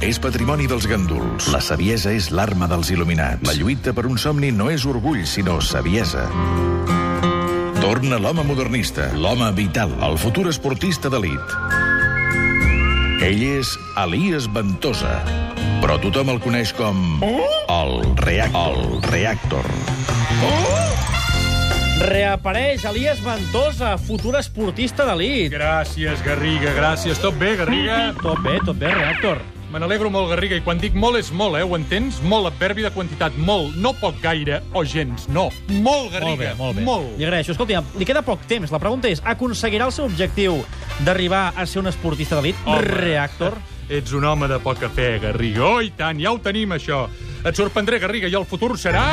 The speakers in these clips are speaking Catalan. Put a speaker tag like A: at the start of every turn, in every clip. A: és patrimoni dels ganduls. La saviesa és l'arma dels il·luminats. La lluita per un somni no és orgull, sinó saviesa. Torna l'home modernista, l'home vital, el futur esportista d'elit. Ell és Elias Ventosa, però tothom el coneix com... El, reac el Reactor.
B: Reapareix Elias Ventosa, futur esportista d'elit.
C: Gràcies, Garriga, gràcies. Tot bé, Garriga?
B: Tot bé, tot bé, Reactor.
C: Me n'alegro molt, Garriga, i quan dic molt és molt, eh? Ho entens? Molt, adverbi de quantitat, molt. No poc gaire o gens, no. Molt, Garriga,
B: molt bé, molt bé. Li
C: molt.
B: agraeixo. Escolta, li queda poc temps. La pregunta és, aconseguirà el seu objectiu d'arribar a ser un esportista d'elit?
C: Home.
B: Reactor.
C: Ets un home de poca fe, Garriga. Oh, i tant, ja ho tenim, això. Et sorprendré, Garriga, i el futur serà...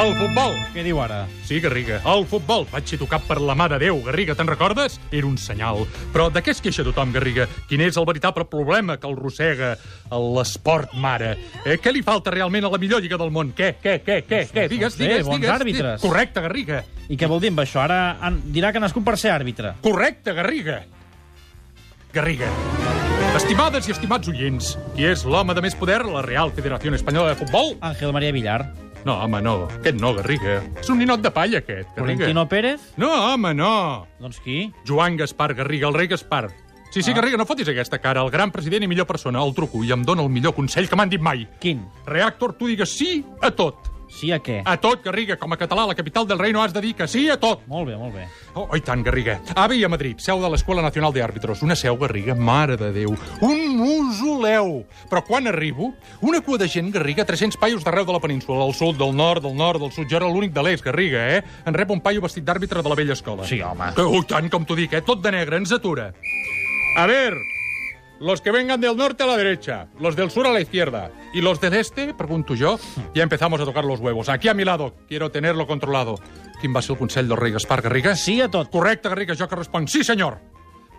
C: El futbol.
B: Què diu ara?
C: Sí, Garriga, el futbol. Vaig ser tocat per la mà de Déu, Garriga, te'n recordes? Era un senyal. Però de què es queixa tothom, Garriga? Quin és el veritable problema que el rossega l'esport mare? Eh, què li falta realment a la millor lliga del món? Què, què, què, què? què? Digues,
B: Bé,
C: digues,
B: Doncs bons
C: digues.
B: àrbitres.
C: Correcte, Garriga.
B: I què vol dir amb això? Ara en- dirà que ha nascut per ser àrbitre.
C: Correcte, Garriga. Garriga. Estimades i estimats oients, qui és l'home de més poder? La Real Federació Espanyola de Futbol?
B: Ángel María Villar.
C: No, home, no. Aquest no, Garriga. És un ninot de palla, aquest, Garriga.
B: Florentino Pérez?
C: No, home, no.
B: Doncs qui?
C: Joan Gaspar Garriga, el rei Gaspar. Sí, sí, Garriga, no fotis aquesta cara. El gran president i millor persona. El truco i em dóna el millor consell que m'han dit mai.
B: Quin?
C: Reactor, tu digues sí a tot.
B: Sí a què?
C: A tot, Garriga. Com a català, a la capital del reino has de dir que sí a tot.
B: Molt bé, molt bé.
C: Oh, oh, i tant, Garriga. Ave i a Madrid, seu de l'Escola Nacional d'Àrbitres. Una seu, Garriga, mare de Déu. Un mausoleu. Però quan arribo, una cua de gent, Garriga, 300 paios d'arreu de la península, del sud, del nord, del nord, del sud. Jo era l'únic de l'est, Garriga, eh? En rep un paio vestit d'àrbitre de la vella escola.
B: Sí, home.
C: Que, oh, i tant, com t'ho dic, eh? Tot de negre, ens atura. A ver, los que vengan del norte a la derecha, los del sur a la izquierda y los del este, pregunto yo, ya empezamos a tocar los huevos. Aquí a mi lado, quiero tenerlo controlado. Quin va ser el consell del rei Gaspar Garriga?
B: Sí a tot.
C: Correcte, Garriga, jo que responc. Sí, senyor.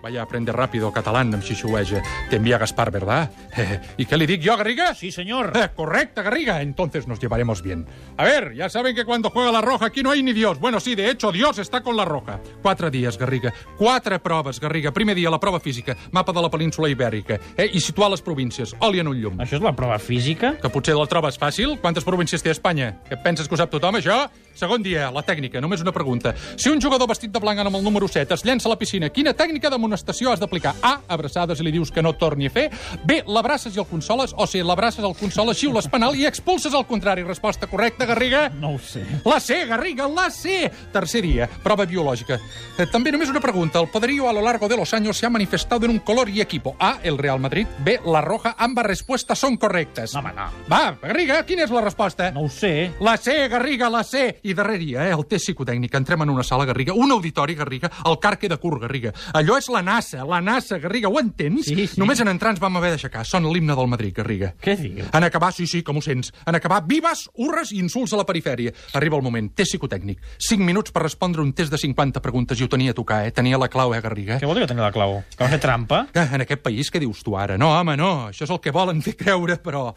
C: Vaya, aprende rápido, catalán, em xixueja. T'envia Gaspar, ¿verdad? I què li dic jo, Garriga?
B: Sí, senyor.
C: Eh, correcto, Garriga. Entonces nos llevaremos bien. A ver, ya saben que cuando juega la Roja aquí no hay ni Dios. Bueno, sí, de hecho, Dios está con la Roja. Quatre dies, Garriga. Quatre proves, Garriga. Primer dia, la prova física, mapa de la península ibèrica. Eh, I situar les províncies. Oli en un llum.
B: Això és la prova física?
C: Que potser la trobes fàcil? Quantes províncies té Espanya? Que et penses que ho sap tothom, això? Segon dia, la tècnica. Només una pregunta. Si un jugador vestit de blanc amb el número 7 es llença a la piscina, quina tècnica d'amonestació has d'aplicar? A. Abraçades i li dius que no torni a fer. B. L'abraces i el consoles. O C. L'abraces, el consoles, xiules penal i expulses al contrari. Resposta correcta, Garriga?
B: No ho sé.
C: La C, Garriga, la C! Tercer dia, prova biològica. Eh, També només una pregunta. El poderío a lo largo de los años se ha manifestado en un color y equipo. A, el Real Madrid. B, la Roja. Ambas respuestas son correctes.
B: No, home, no.
C: Va, Garriga, quina és la resposta?
B: No ho sé.
C: La C, Garriga, la C. I darrer dia, eh, el test psicotècnic. Entrem en una sala, Garriga, un auditori, Garriga, el car queda curt, Garriga. Allò és la NASA, la NASA, Garriga, ho entens?
B: Sí, sí.
C: Només en entrar ens vam haver d'aixecar. Són l'himne del Madrid, Garriga.
B: Què diu?
C: En acabar, sí, sí, com ho sents, en acabar, vives, urres i insults a la perifèria. Arriba el moment, test psicotècnic. 5 minuts per respondre un test de 50 preguntes i ho tenia a tocar, eh? Tenia la clau, eh, Garriga?
B: Què vol dir que tenia la clau? Que va fer trampa?
C: Que en aquest país, què dius tu ara? No, home, no, això és el que volen fer creure, però...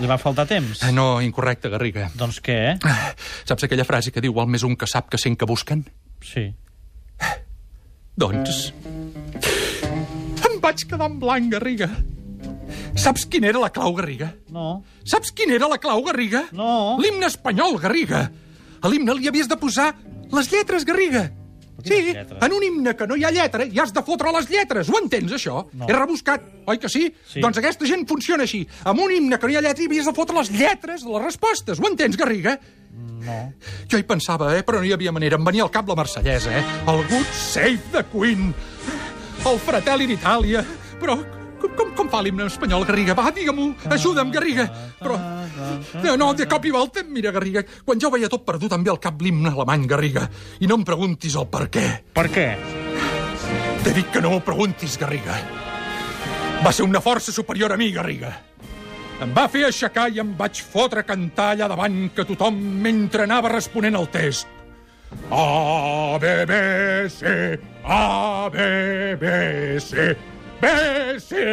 B: Li va faltar temps?
C: eh, No, incorrecte, Garriga.
B: Doncs què?
C: Ah, Saps aquella frase que diu val més un que sap que cent que busquen?
B: Sí.
C: Doncs... Em vaig quedar en blanc, Garriga. Saps quina era la clau, Garriga?
B: No.
C: Saps quina era la clau, Garriga?
B: No.
C: L'himne espanyol, Garriga. A l'himne li havies de posar les lletres, Garriga. Sí,
B: quines lletres?
C: en un himne que no hi ha lletra i has de fotre les lletres. Ho entens, això?
B: No.
C: He rebuscat, oi que sí?
B: Sí.
C: Doncs aquesta gent funciona així. Amb un himne que no hi ha lletra hi havies de fotre les lletres, les respostes. Ho entens, Garriga?
B: No.
C: Jo hi pensava, eh, però no hi havia manera. Em venia al cap la Marsellesa, eh? El Good Save the Queen. El Fratelli d'Itàlia. Però com, com, com fa l'himne espanyol, Garriga? Va, digue-m'ho. Ajuda'm, Garriga. Però... No, no, de cop i volta, mira, Garriga, quan ja ho veia tot perdut, em ve al cap l'himne alemany, Garriga. I no em preguntis el per què.
B: Per què?
C: T'he dit que no m'ho preguntis, Garriga. Va ser una força superior a mi, Garriga. Em va fer aixecar i em vaig fotre a cantar allà davant que tothom mentre anava responent al test. A, B, B, C, A, B, B, C, B, C,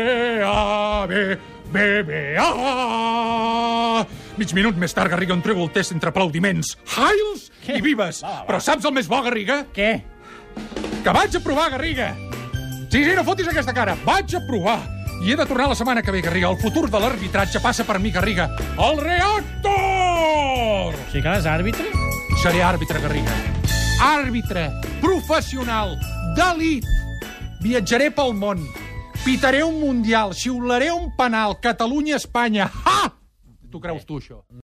C: A, B, B, B, A. Mig minut més tard, Garriga, entrego el test entre aplaudiments. Hails
B: Què?
C: i vives.
B: Va, va, va.
C: Però saps el més bo, Garriga?
B: Què?
C: que vaig a provar, Garriga. Sí, sí, no fotis aquesta cara. Vaig a provar. I he de tornar la setmana que ve, Garriga. El futur de l'arbitratge passa per mi, Garriga. El reactor!
B: O sigui que ara és àrbitre?
C: Seré àrbitre, Garriga. Àrbitre, professional, d'elit. Viatjaré pel món. Pitaré un mundial, xiularé un penal. Catalunya-Espanya. Ha! Tu creus tu, això?